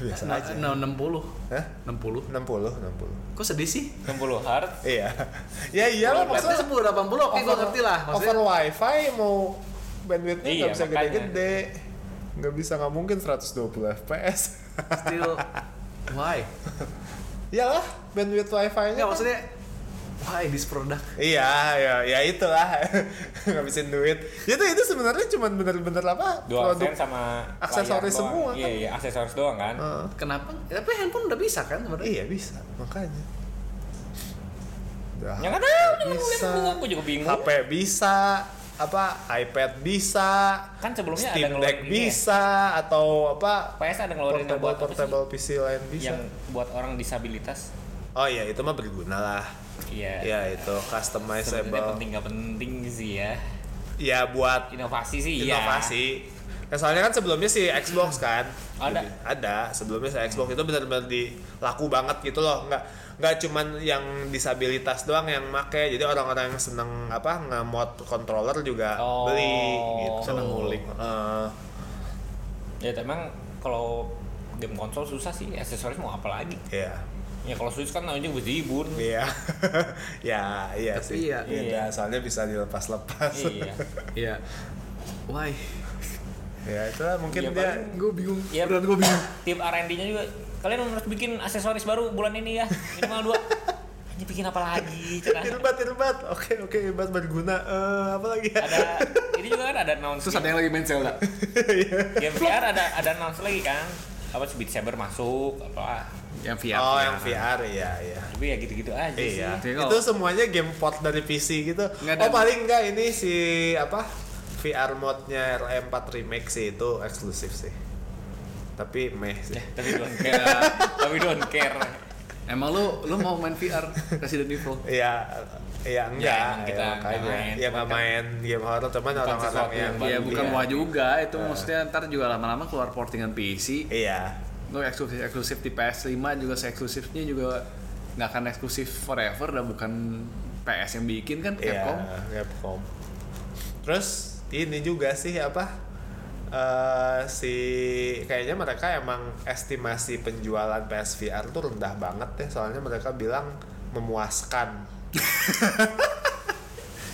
[SPEAKER 2] Biasa
[SPEAKER 1] Nah,
[SPEAKER 2] aja.
[SPEAKER 1] nah, 60.
[SPEAKER 2] Hah?
[SPEAKER 1] 60.
[SPEAKER 2] 60 60.
[SPEAKER 1] Kok sedih sih?
[SPEAKER 3] 60 Hz.
[SPEAKER 2] Iya. [LAUGHS] ya iyalah
[SPEAKER 1] Maksudnya
[SPEAKER 2] maksudnya
[SPEAKER 1] 10 80 oke gue
[SPEAKER 2] over-
[SPEAKER 1] ngerti lah. Maksudnya
[SPEAKER 2] Over wifi mau bandwidthnya nggak
[SPEAKER 3] Iya,
[SPEAKER 2] bisa
[SPEAKER 3] makanya.
[SPEAKER 2] gede-gede. Nggak bisa nggak mungkin 120 fps.
[SPEAKER 1] still why?
[SPEAKER 2] [LAUGHS] Iyalah bandwidth wifi-nya.
[SPEAKER 1] Enggak
[SPEAKER 2] kan-
[SPEAKER 1] maksudnya why this product?
[SPEAKER 2] Iya, ya, ya itulah [LAUGHS] ngabisin duit. Itu itu sebenarnya cuman bener-bener apa?
[SPEAKER 3] Dua sen sama
[SPEAKER 2] aksesoris
[SPEAKER 3] layar doang.
[SPEAKER 2] semua
[SPEAKER 3] Iya
[SPEAKER 2] kan. Ah.
[SPEAKER 3] iya, aksesoris doang kan.
[SPEAKER 2] Heeh.
[SPEAKER 1] Kenapa? Tapi handphone udah bisa kan sebenarnya.
[SPEAKER 2] Iya bisa, makanya. Udah,
[SPEAKER 3] Ya nggak tahu,
[SPEAKER 2] HP
[SPEAKER 3] bisa. Aku juga bingung.
[SPEAKER 2] HP bisa, apa iPad bisa,
[SPEAKER 3] Kan sebelumnya ada
[SPEAKER 2] Steam
[SPEAKER 3] ngeluarin
[SPEAKER 2] Deck
[SPEAKER 3] ini ya?
[SPEAKER 2] bisa atau apa
[SPEAKER 3] PS ada ngeluarin yang
[SPEAKER 2] portable
[SPEAKER 3] buat apa sih?
[SPEAKER 2] portable PC lain bisa.
[SPEAKER 3] Yang buat orang disabilitas.
[SPEAKER 2] Oh iya itu mah berguna lah.
[SPEAKER 3] Iya.
[SPEAKER 2] Ya itu
[SPEAKER 3] Sebenarnya
[SPEAKER 2] customizable.
[SPEAKER 3] penting nggak penting sih ya.
[SPEAKER 2] Ya buat
[SPEAKER 3] Inovasi sih iya. Hmm.
[SPEAKER 2] inovasi. Nah, soalnya kan sebelumnya si Xbox kan.
[SPEAKER 3] Ada.
[SPEAKER 2] Jadi, ada. Sebelumnya si Xbox itu benar-benar di laku banget gitu loh. Nggak nggak cuman yang disabilitas doang yang make. Jadi orang-orang yang seneng apa nge-mod controller juga
[SPEAKER 3] Oh.
[SPEAKER 2] beli gitu.
[SPEAKER 1] Seneng ngulik.
[SPEAKER 2] Eh,
[SPEAKER 3] Ya emang kalau game konsol susah sih aksesoris mau apa lagi
[SPEAKER 2] Iya.
[SPEAKER 3] ya kalau Switch kan namanya berjibun
[SPEAKER 2] Iya. [LAUGHS] Ya, iya
[SPEAKER 1] Tapi
[SPEAKER 2] sih.
[SPEAKER 1] iya.
[SPEAKER 2] Beda, soalnya bisa dilepas-lepas.
[SPEAKER 3] iya
[SPEAKER 1] Iya. Why?
[SPEAKER 2] ya, itulah mungkin
[SPEAKER 3] Iya,
[SPEAKER 2] dia
[SPEAKER 3] paling-
[SPEAKER 1] Gue bingung.
[SPEAKER 3] Iya.
[SPEAKER 1] Beneran gue bingung.
[SPEAKER 3] tim R&D nya juga kalian harus bikin aksesoris baru bulan ini ya minimal dua ini bikin apa lagi Cerah.
[SPEAKER 2] Irbat, irbat. Oke, oke, irbat berguna. Eh, apa lagi ya?
[SPEAKER 3] ada ini juga kan ada announce
[SPEAKER 1] Terus ada yang lagi main Zelda.
[SPEAKER 3] game VR ada ada announce lagi kan apa Beat Saber masuk apa
[SPEAKER 1] Yang VR.
[SPEAKER 2] oh,
[SPEAKER 3] ya.
[SPEAKER 2] yang VR, iya, iya.
[SPEAKER 3] tapi ya gitu-gitu aja
[SPEAKER 2] Iya.
[SPEAKER 3] sih
[SPEAKER 1] Jadi
[SPEAKER 2] Itu
[SPEAKER 1] kalau-
[SPEAKER 2] semuanya game port dari PC gitu.
[SPEAKER 1] Nggak ada-
[SPEAKER 2] oh paling enggak ini si apa VR modnya RM4 E Remake sih itu eksklusif sih. Tapi meh sih.
[SPEAKER 3] tapi don't care tapi don't care
[SPEAKER 1] Emang lu lu mau main VR Resident Evil?
[SPEAKER 2] Iya, iya enggak.
[SPEAKER 3] Ya, emang kita
[SPEAKER 2] ya,
[SPEAKER 3] nggak
[SPEAKER 2] makanya.
[SPEAKER 3] main.
[SPEAKER 2] Ya nggak main game horror cuman
[SPEAKER 3] Bukan
[SPEAKER 2] orang-orang
[SPEAKER 3] sesuatu
[SPEAKER 2] yang ya.
[SPEAKER 3] yang
[SPEAKER 1] Iya
[SPEAKER 3] Baru
[SPEAKER 1] bukan
[SPEAKER 3] dia.
[SPEAKER 1] wah juga itu maksudnya ntar juga lama-lama keluar portingan PC.
[SPEAKER 2] Iya.
[SPEAKER 1] Lu eksklusif eksklusif di PS5 juga se eksklusifnya juga nggak akan eksklusif forever dan bukan PS yang bikin kan
[SPEAKER 2] Iya,
[SPEAKER 1] Capcom.
[SPEAKER 2] Capcom. Terus ini juga sih apa? eh si kayaknya mereka emang estimasi penjualan PSVR tuh rendah banget deh soalnya mereka bilang
[SPEAKER 1] [LAUGHS]
[SPEAKER 2] memuaskan.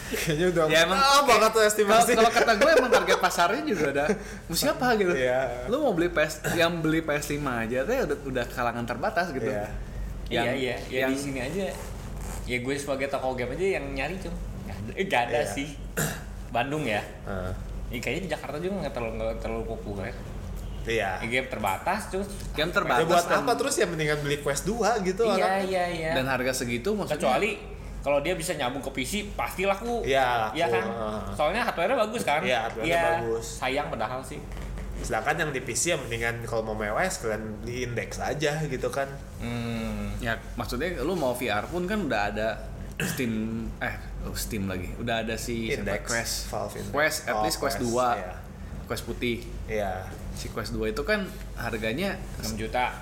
[SPEAKER 2] kayaknya udah
[SPEAKER 1] Ya, emang-
[SPEAKER 2] ah, banget tuh
[SPEAKER 1] Kalau
[SPEAKER 2] estimasi.
[SPEAKER 1] kalau kata gue emang target pasarnya juga ada mau siapa gitu.
[SPEAKER 2] Iya.
[SPEAKER 1] Lu mau beli PS yang beli PS5 aja tuh udah udah kalangan terbatas gitu.
[SPEAKER 2] Iya.
[SPEAKER 3] iya
[SPEAKER 1] Yang-
[SPEAKER 3] iya ya
[SPEAKER 1] yang-
[SPEAKER 3] di sini aja ya gue sebagai toko game aja yang nyari cum Nggak ada- eh, nggak ada
[SPEAKER 2] Iya.
[SPEAKER 3] sih Bandung ya
[SPEAKER 2] Eh,
[SPEAKER 3] Ya, kayaknya di Jakarta juga nggak terlalu nggak terlalu populer.
[SPEAKER 2] iya.
[SPEAKER 3] Ya, game terbatas cus.
[SPEAKER 1] Ah. Game
[SPEAKER 2] Ya
[SPEAKER 1] terbatas
[SPEAKER 2] buat
[SPEAKER 1] dan,
[SPEAKER 2] apa terus ya mendingan beli Quest 2 gitu
[SPEAKER 3] Iya
[SPEAKER 2] orang.
[SPEAKER 3] iya iya.
[SPEAKER 1] dan harga segitu maksudnya.
[SPEAKER 3] kecuali kalau dia bisa nyambung ke PC pasti laku.
[SPEAKER 2] Iya, laku.
[SPEAKER 3] Iya kan.
[SPEAKER 2] Heeh.
[SPEAKER 3] Soalnya hardware-nya bagus kan.
[SPEAKER 2] Iya, hardware-nya
[SPEAKER 3] Iya,
[SPEAKER 2] bagus.
[SPEAKER 3] Sayang padahal sih.
[SPEAKER 2] Sedangkan yang di PC ya mendingan kalau mau mewah ya sekalian di indeks aja gitu kan.
[SPEAKER 3] Hmm.
[SPEAKER 1] Ya, maksudnya lu mau VR pun kan udah ada Steam eh oh, Steam lagi. Udah ada si siapa?
[SPEAKER 2] Index,
[SPEAKER 1] Quest.
[SPEAKER 2] Valve Index.
[SPEAKER 1] Quest at
[SPEAKER 2] Oh,
[SPEAKER 1] least Quest,
[SPEAKER 2] Quest,
[SPEAKER 1] 2.
[SPEAKER 2] iya.
[SPEAKER 1] Quest putih.
[SPEAKER 2] Iya.
[SPEAKER 1] Si Quest 2 itu kan harganya
[SPEAKER 3] 6 juta.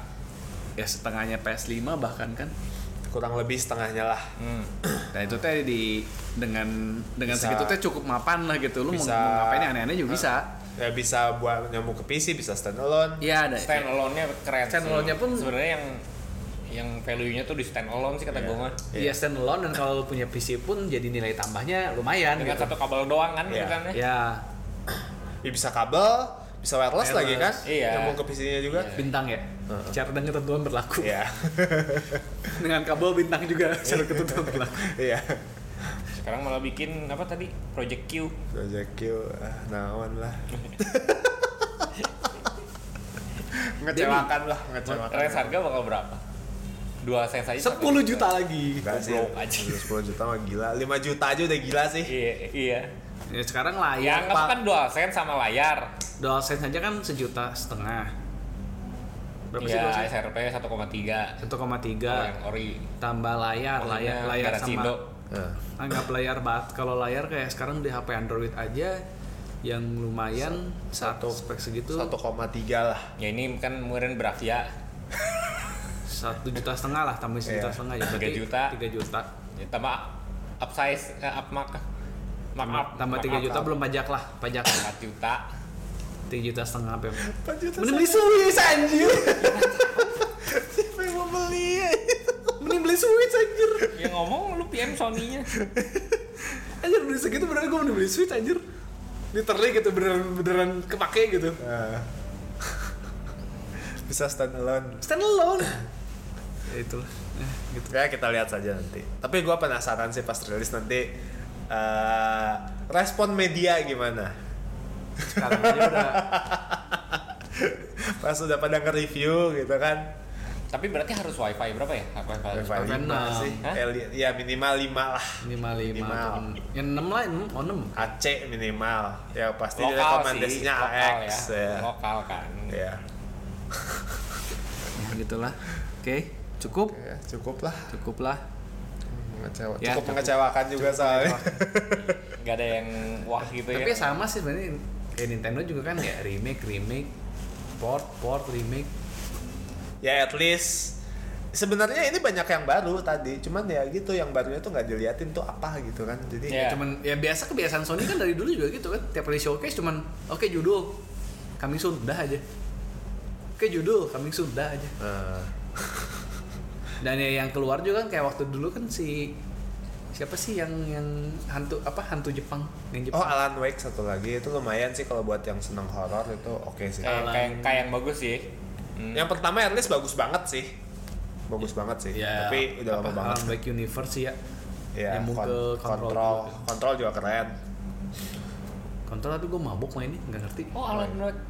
[SPEAKER 1] ya setengahnya PS5 bahkan kan.
[SPEAKER 2] Kurang lebih setengahnya lah.
[SPEAKER 3] Hmm.
[SPEAKER 1] Nah, itu teh di dengan dengan
[SPEAKER 2] Bisa-
[SPEAKER 1] segitu teh cukup mapan lah gitu. Lu mau-
[SPEAKER 2] bisa-
[SPEAKER 1] mau ngapain yang aneh-aneh juga bisa.
[SPEAKER 2] ya bisa buat nyambung ke PC bisa standalone
[SPEAKER 1] Iya ada.
[SPEAKER 3] Stand alone-nya Nah, keren.
[SPEAKER 1] Stand
[SPEAKER 3] sih.
[SPEAKER 1] alone-nya pun-
[SPEAKER 3] sebenarnya yang yang value-nya tuh di stand alone sih kata
[SPEAKER 2] Iya.
[SPEAKER 3] gue mah.
[SPEAKER 1] Iya stand alone dan kalau lu punya PC pun jadi nilai tambahnya lumayan
[SPEAKER 3] Dengan
[SPEAKER 1] gitu.
[SPEAKER 3] satu kabel doang kan
[SPEAKER 2] Iya.
[SPEAKER 3] bukannya?
[SPEAKER 1] Ya,
[SPEAKER 2] ya bisa kabel bisa
[SPEAKER 1] Wireless.
[SPEAKER 2] wireless, lagi kan
[SPEAKER 3] Iya.
[SPEAKER 2] nyambung ke PC-nya juga
[SPEAKER 1] bintang ya. Cara dan ketentuan berlaku.
[SPEAKER 2] iya
[SPEAKER 1] [LAUGHS]
[SPEAKER 2] [LAUGHS]
[SPEAKER 1] dengan kabel bintang juga secara ketentuan
[SPEAKER 2] [LAUGHS]
[SPEAKER 1] berlaku.
[SPEAKER 2] iya
[SPEAKER 3] Sekarang malah bikin apa tadi? Project Q.
[SPEAKER 2] Project Q ah, naon
[SPEAKER 1] [LAUGHS]
[SPEAKER 2] lah ngecewakan lah ngecewakan
[SPEAKER 3] Range harga bakal berapa? Dua sen saja.
[SPEAKER 1] 10 juta lagi.
[SPEAKER 2] Enggak sih,
[SPEAKER 3] Goblok aja.
[SPEAKER 2] 10 juta mah gila 5 juta aja udah gila sih
[SPEAKER 3] Iya, iya.
[SPEAKER 1] Ya sekarang
[SPEAKER 3] Ya,
[SPEAKER 1] layar
[SPEAKER 3] anggap
[SPEAKER 1] pak.
[SPEAKER 3] kan dual sen sama layar.
[SPEAKER 1] DualSense aja kan sejuta setengah. Berapa sih
[SPEAKER 3] Iya,
[SPEAKER 1] DualSense?
[SPEAKER 3] SRP 1,3.
[SPEAKER 1] 1,3
[SPEAKER 3] Kalau yang ori.
[SPEAKER 1] tambah layar, layar,
[SPEAKER 3] Orinya
[SPEAKER 1] layar sama
[SPEAKER 3] Garacindo.
[SPEAKER 2] Nah,
[SPEAKER 1] anggap layar banget. Kalau layar kayak sekarang di HP Android aja yang lumayan saat
[SPEAKER 2] Satu.
[SPEAKER 1] spek segitu
[SPEAKER 2] 1,3 lah
[SPEAKER 3] Ya ini kan kemudian Bravia.
[SPEAKER 1] satu juta setengah lah tambah sejuta
[SPEAKER 2] Iya.
[SPEAKER 1] setengah ya berarti
[SPEAKER 3] Tiga juta.
[SPEAKER 1] tiga juta
[SPEAKER 3] Ya, tambah upsize, eh, up mark, mark
[SPEAKER 1] tambah,
[SPEAKER 3] up,
[SPEAKER 1] tambah
[SPEAKER 3] mark
[SPEAKER 1] tiga
[SPEAKER 3] up.
[SPEAKER 1] juta belum pajak lah pajak
[SPEAKER 3] 4 juta.
[SPEAKER 1] tiga juta setengah pem
[SPEAKER 2] 4 juta
[SPEAKER 1] mending beli Swiss anjir
[SPEAKER 2] [LAUGHS] siapa yang mau beli
[SPEAKER 1] mending beli Swiss anjir
[SPEAKER 3] Ya ngomong lu PM Sony-nya.
[SPEAKER 1] [LAUGHS] anjir beli segitu beneran gue mending beli Swiss anjir literally gitu beneran beneran kepake gitu
[SPEAKER 2] Nah. [LAUGHS] bisa stand alone
[SPEAKER 1] stand alone [CLEARS THROAT] ya itulah Eh, gitu
[SPEAKER 2] ya kita lihat saja nanti tapi gua penasaran sih pas rilis nanti eh, respon media gimana [LAUGHS]
[SPEAKER 1] sekarang aja udah
[SPEAKER 2] pas udah pada nge-review gitu kan
[SPEAKER 3] [LAUGHS] Tapi berarti harus wifi berapa ya? Wifi.
[SPEAKER 2] level
[SPEAKER 1] Kan,
[SPEAKER 2] lima
[SPEAKER 1] eh,
[SPEAKER 2] sih
[SPEAKER 3] hah?
[SPEAKER 2] Eh, li- ya minimal 5 lah
[SPEAKER 1] lima lima
[SPEAKER 2] Minimal.
[SPEAKER 1] atau enam. ya enam lah enam oh enam
[SPEAKER 2] AC minimal ya pasti
[SPEAKER 3] Lokal sih,
[SPEAKER 2] rekomendasinya
[SPEAKER 3] lokal
[SPEAKER 2] AX
[SPEAKER 3] ya.
[SPEAKER 2] ya.
[SPEAKER 3] Lokal kan.
[SPEAKER 2] Ya.
[SPEAKER 1] ya, gitulah oke cukup
[SPEAKER 2] Ya, cukup lah
[SPEAKER 1] cukup lah
[SPEAKER 2] Mengecewa-
[SPEAKER 1] Ya,
[SPEAKER 2] cukup,
[SPEAKER 1] cukup.
[SPEAKER 2] mengecewakan juga soalnya
[SPEAKER 3] Gak ada yang wah gitu
[SPEAKER 1] tapi
[SPEAKER 3] ya.
[SPEAKER 1] sama sih sebenarnya kayak Nintendo juga kan ya remake remake port port remake
[SPEAKER 2] ya at least sebenarnya ini banyak yang baru tadi cuman ya gitu yang barunya tuh nggak diliatin tuh apa gitu kan jadi
[SPEAKER 3] Ya.
[SPEAKER 1] cuman ya biasa kebiasaan Sony kan dari dulu juga gitu kan tiap kali showcase cuman oke judul coming soon dah aja oke judul coming soon dah aja
[SPEAKER 2] eh,
[SPEAKER 1] dan ya yang keluar juga kan kayak waktu dulu kan si siapa sih yang yang hantu apa hantu Jepang yang
[SPEAKER 2] oh
[SPEAKER 1] Jepang
[SPEAKER 2] Alan Wake satu lagi itu lumayan sih kalau buat yang seneng horor itu oke sih
[SPEAKER 1] Um,
[SPEAKER 3] Kayak kayak kayak yang
[SPEAKER 1] Iya.
[SPEAKER 3] bagus sih. Hmm.
[SPEAKER 2] yang pertama at least bagus banget sih bagus banget sih
[SPEAKER 1] ya
[SPEAKER 2] tapi udah lama
[SPEAKER 1] apa,
[SPEAKER 2] banget
[SPEAKER 1] Alan Wake Universe sih ya
[SPEAKER 2] ya
[SPEAKER 1] yang mau
[SPEAKER 2] kon-
[SPEAKER 1] ke kontrol
[SPEAKER 2] kontrol kontrol juga keren
[SPEAKER 1] kontrol tapi gue mabuk mainnya nggak ngerti
[SPEAKER 3] Oh, Alan Wake.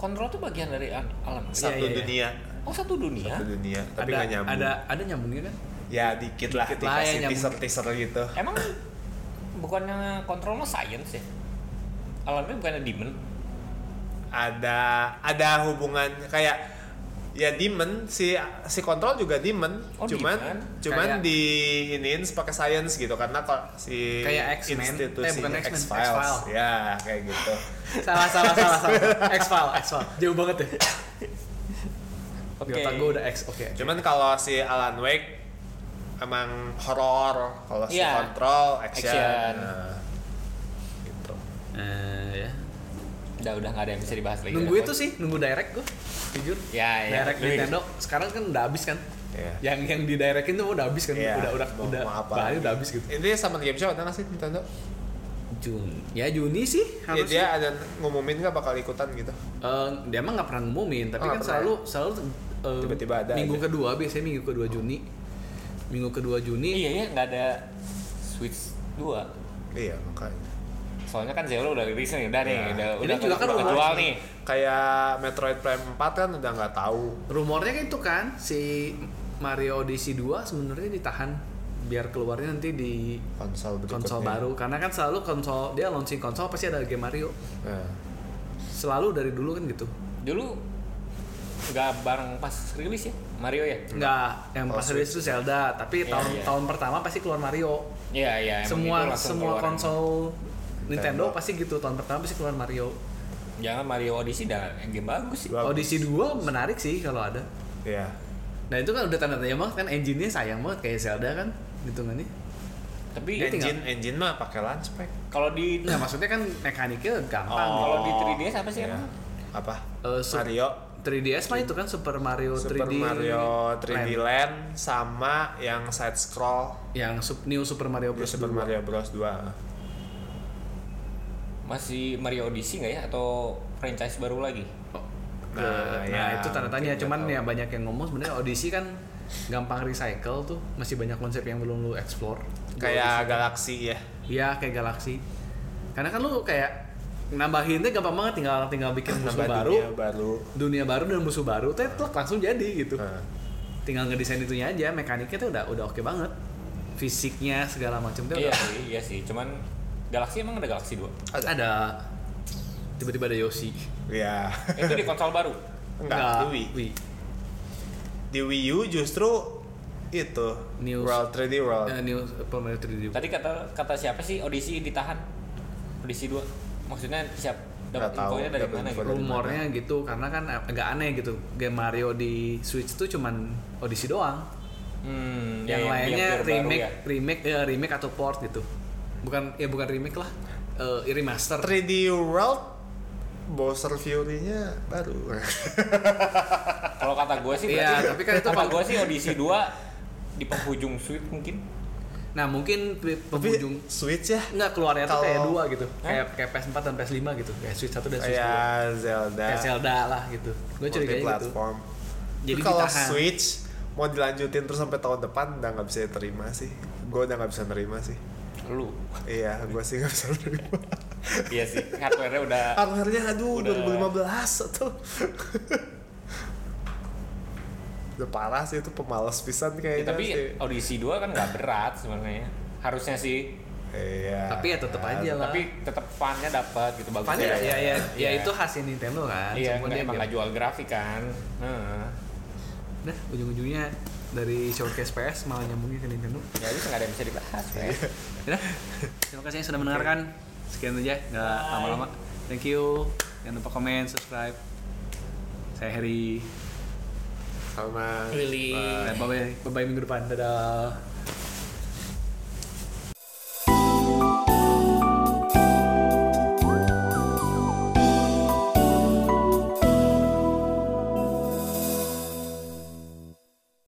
[SPEAKER 3] Kontrol tuh bagian dari Al- Alan Wake.
[SPEAKER 1] iya,
[SPEAKER 2] satu
[SPEAKER 1] iya.
[SPEAKER 2] dunia
[SPEAKER 3] Oh, satu dunia.
[SPEAKER 2] satu dunia tapi
[SPEAKER 1] ada
[SPEAKER 2] nggak nyambung
[SPEAKER 1] ada ada nyambungnya kan
[SPEAKER 2] ya dikit lah
[SPEAKER 1] Dikit lah ya,
[SPEAKER 2] dikasih
[SPEAKER 1] nyambung.
[SPEAKER 2] teaser teaser gitu
[SPEAKER 3] Emang bukannya kontrol mah science ya? Alan Wake bukannya demon?
[SPEAKER 2] ada ada hubungan kayak ya demon si si kontrol juga demon
[SPEAKER 3] Oh,
[SPEAKER 2] cuman
[SPEAKER 3] demon.
[SPEAKER 2] cuman
[SPEAKER 1] Kayak-
[SPEAKER 2] di iniin pakai science gitu karena kok si
[SPEAKER 1] Kayak X-Men. Eh, bukan X-Men,
[SPEAKER 2] X-Files
[SPEAKER 1] X-File.
[SPEAKER 2] ya kayak gitu
[SPEAKER 1] salah salah salah salah X file X file jauh banget ya
[SPEAKER 3] Oke.
[SPEAKER 1] di otak gue udah X oke
[SPEAKER 2] cuman kalau si Alan Wake emang horor kalau si
[SPEAKER 3] Iya.
[SPEAKER 2] kontrol action,
[SPEAKER 3] Action.
[SPEAKER 2] Nah, gitu
[SPEAKER 1] Eh, ya.
[SPEAKER 3] Udah udah nggak ada yang bisa dibahas lagi.
[SPEAKER 1] nunggu
[SPEAKER 3] Udah,
[SPEAKER 1] itu
[SPEAKER 3] Bos.
[SPEAKER 1] sih nunggu direct gue jujur
[SPEAKER 3] Ya, ya.
[SPEAKER 1] direct
[SPEAKER 3] Nunggu.
[SPEAKER 1] Nintendo sekarang kan udah habis kan
[SPEAKER 2] Iya.
[SPEAKER 1] yang yang di directin tuh udah habis kan
[SPEAKER 2] Iya,
[SPEAKER 1] udah udah
[SPEAKER 2] mau-
[SPEAKER 1] udah
[SPEAKER 2] mau apa
[SPEAKER 1] bahannya
[SPEAKER 2] lagi.
[SPEAKER 1] udah habis gitu
[SPEAKER 2] ini sama game show ada nggak sih Nintendo
[SPEAKER 1] Jun ya Juni sih
[SPEAKER 2] Ya,
[SPEAKER 1] harusnya
[SPEAKER 2] dia ada ngumumin nggak bakal ikutan gitu
[SPEAKER 1] Eh, dia emang nggak pernah ngumumin, tapi kan
[SPEAKER 2] Oh, nggak
[SPEAKER 1] selalu selalu eh,
[SPEAKER 2] Tiba-tiba ada
[SPEAKER 1] minggu
[SPEAKER 2] aja.
[SPEAKER 1] kedua biasanya minggu kedua Juni. Minggu kedua Juni.
[SPEAKER 3] Iya, iya nggak ada Switch 2.
[SPEAKER 2] iya makanya
[SPEAKER 3] Soalnya kan Zero udah rilis nih, udah nih,
[SPEAKER 2] Ya.
[SPEAKER 3] udah
[SPEAKER 1] Ini
[SPEAKER 3] udah
[SPEAKER 1] juga kan
[SPEAKER 3] udah
[SPEAKER 1] udah
[SPEAKER 3] kejual
[SPEAKER 1] launching.
[SPEAKER 3] nih.
[SPEAKER 2] kayak Metroid Prime 4 kan udah nggak tahu
[SPEAKER 1] Rumornya kan itu kan si Mario Odyssey 2 sebenarnya ditahan biar keluarnya nanti di
[SPEAKER 2] konsol berikutnya.
[SPEAKER 1] konsol baru karena kan selalu konsol dia launching konsol pasti ada game Mario
[SPEAKER 2] Nah,
[SPEAKER 1] selalu dari dulu kan gitu
[SPEAKER 3] Dulu nggak bareng pas rilis ya Mario ya?
[SPEAKER 1] nggak yang
[SPEAKER 2] Oh,
[SPEAKER 1] pas rilis itu Zelda tapi
[SPEAKER 3] Iya,
[SPEAKER 1] tahun
[SPEAKER 3] iya.
[SPEAKER 1] tahun pertama pasti keluar Mario
[SPEAKER 3] Iya, iya. emang itu
[SPEAKER 1] semua
[SPEAKER 3] langsung
[SPEAKER 1] semua
[SPEAKER 3] keluar.
[SPEAKER 1] konsol Nintendo
[SPEAKER 2] Nintendo.
[SPEAKER 1] pasti gitu tahun pertama pasti keluar Mario
[SPEAKER 3] Jangan Mario Odyssey dah game bagus sih.
[SPEAKER 2] Bagus.
[SPEAKER 1] Odyssey 2 menarik sih kalau ada.
[SPEAKER 2] iya.
[SPEAKER 1] Nah itu kan udah tanda tanya banget kan engine-nya sayang banget kayak Zelda kan hitungannya.
[SPEAKER 3] Tapi
[SPEAKER 1] Dia tinggal-
[SPEAKER 2] Engine engine mah pakai launchpad.
[SPEAKER 3] kalau di
[SPEAKER 1] Nah maksudnya kan mekaniknya gampang.
[SPEAKER 3] Oh. Kalau di 3DS apa sih
[SPEAKER 2] Iya.
[SPEAKER 3] emang?
[SPEAKER 2] Apa?
[SPEAKER 1] Eh, Sup-
[SPEAKER 2] Mario
[SPEAKER 1] 3DS mah itu kan Super Mario
[SPEAKER 2] Super
[SPEAKER 1] 3D
[SPEAKER 2] Mario 3D
[SPEAKER 1] Land.
[SPEAKER 2] Land. sama yang side scroll
[SPEAKER 1] yang sup- New Super Mario Bros.
[SPEAKER 2] Iya, Super
[SPEAKER 1] 2.
[SPEAKER 2] Mario Bros 2.
[SPEAKER 3] masih Mario Odyssey nggak ya atau franchise baru lagi?
[SPEAKER 1] Oh, Nah,
[SPEAKER 2] Nah, ya,
[SPEAKER 1] itu tanda tanya
[SPEAKER 2] mungkin
[SPEAKER 1] cuman ya
[SPEAKER 2] nggak
[SPEAKER 1] banyak yang ngomong sebenarnya Odyssey kan gampang recycle tuh masih banyak konsep yang belum lu explore.
[SPEAKER 2] Kayak Galaxy ya.
[SPEAKER 1] Iya kayak galaksi. Karena kan lu kayak nambahinnya gampang banget tinggal tinggal
[SPEAKER 2] [LAUGHS]
[SPEAKER 1] bikin musuh
[SPEAKER 2] Nambah
[SPEAKER 1] baru.
[SPEAKER 2] dunia baru.
[SPEAKER 1] dunia baru dan musuh baru teh telak langsung jadi gitu
[SPEAKER 2] Nah,
[SPEAKER 1] tinggal ngedesain itunya aja mekaniknya tuh udah udah oke banget fisiknya segala macam tuh
[SPEAKER 3] Iya
[SPEAKER 1] udah
[SPEAKER 3] sih, iya sih. Cuman Galaxy emang ada Galaxy 2.
[SPEAKER 1] ada. tiba-tiba ada Yoshi
[SPEAKER 2] [LAUGHS] ya.
[SPEAKER 3] Itu di konsol baru.
[SPEAKER 2] Enggak, di Wii.
[SPEAKER 1] Wii.
[SPEAKER 2] Di Wii U justru itu
[SPEAKER 1] New-
[SPEAKER 2] World 3D
[SPEAKER 3] Oh.
[SPEAKER 2] World.
[SPEAKER 1] Eh, New Super Mario 3D
[SPEAKER 3] Tadi kata kata siapa sih Odyssey ditahan? Odyssey 2. maksudnya siap
[SPEAKER 2] Nggak
[SPEAKER 3] dapat
[SPEAKER 2] tahu,
[SPEAKER 3] infonya dari
[SPEAKER 2] dapat
[SPEAKER 3] mana
[SPEAKER 2] info
[SPEAKER 3] gitu?
[SPEAKER 2] dari-
[SPEAKER 1] rumornya gitu karena kan agak aneh gitu game Mario di Switch tuh cuman audisi doang
[SPEAKER 3] Hmm,
[SPEAKER 1] yang
[SPEAKER 3] ya,
[SPEAKER 1] lainnya
[SPEAKER 3] yang baru
[SPEAKER 1] remake
[SPEAKER 3] ya.
[SPEAKER 1] remake ya remake atau port gitu bukan ya bukan remake lah eh remaster
[SPEAKER 2] 3D World Bowser Fury-nya baru.
[SPEAKER 3] Kalau kata gue sih,
[SPEAKER 1] Iya,
[SPEAKER 3] berarti-
[SPEAKER 1] tapi kan itu
[SPEAKER 3] kata
[SPEAKER 1] pang-
[SPEAKER 3] gue sih audisi 2 di penghujung sweep mungkin.
[SPEAKER 1] nah mungkin pe-
[SPEAKER 2] Tapi
[SPEAKER 1] pengunjung
[SPEAKER 2] Switch ya?
[SPEAKER 1] nggak keluarnya tuh kayak
[SPEAKER 2] Kalau-
[SPEAKER 1] dua gitu
[SPEAKER 3] Hah? Iya,
[SPEAKER 1] kayak kayak PS4 dan PS5 gitu kayak Switch satu dan Switch dua
[SPEAKER 2] Ya Zelda.
[SPEAKER 1] kayak Zelda lah gitu
[SPEAKER 3] Oh,
[SPEAKER 1] gue curiga gitu
[SPEAKER 2] platform.
[SPEAKER 1] Jadi
[SPEAKER 2] Jadi kalau
[SPEAKER 1] ditahan.
[SPEAKER 2] Switch mau dilanjutin terus sampai tahun depan udah nggak bisa diterima sih. Gue udah nggak bisa nerima sih.
[SPEAKER 3] Lu.
[SPEAKER 2] Iya, gue sih nggak bisa
[SPEAKER 1] [LAUGHS]
[SPEAKER 2] nerima.
[SPEAKER 3] Iya sih, hardware-nya udah
[SPEAKER 2] Hardware-nya aduh
[SPEAKER 3] Udah.
[SPEAKER 2] 2015 tuh. udah parah sih itu pemalas pisan
[SPEAKER 3] Ya,
[SPEAKER 2] kayaknya
[SPEAKER 3] tapi
[SPEAKER 2] sih.
[SPEAKER 3] audisi 2 kan nggak berat sebenarnya. Harusnya sih,
[SPEAKER 2] Iya.
[SPEAKER 1] tapi ya tetep aja lah
[SPEAKER 3] tapi tetap fun-nya dapat gitu bagus.
[SPEAKER 1] Fun ya, ya, ya, ya
[SPEAKER 3] Iya.
[SPEAKER 1] itu khasnya Nintendo kan
[SPEAKER 3] Iya,
[SPEAKER 1] cuma
[SPEAKER 3] nggak-
[SPEAKER 1] dia
[SPEAKER 3] emang
[SPEAKER 1] game-
[SPEAKER 3] nggak jual grafik kan. Heeh.
[SPEAKER 1] Nah, ujung-ujungnya dari showcase PS malah nyambungnya ke Nintendo.
[SPEAKER 3] Ya itu nggak ada yang bisa dibahas. ya.
[SPEAKER 1] Yaudah, terima kasih yang sudah mendengarkan. Sekian aja, nggak
[SPEAKER 3] Bye.
[SPEAKER 1] lama-lama. Thank you. Jangan lupa komen, subscribe. Saya Heri.
[SPEAKER 2] Sama
[SPEAKER 3] Willy.
[SPEAKER 1] Iya. Dan bye-bye, bye-bye minggu depan. Dadah.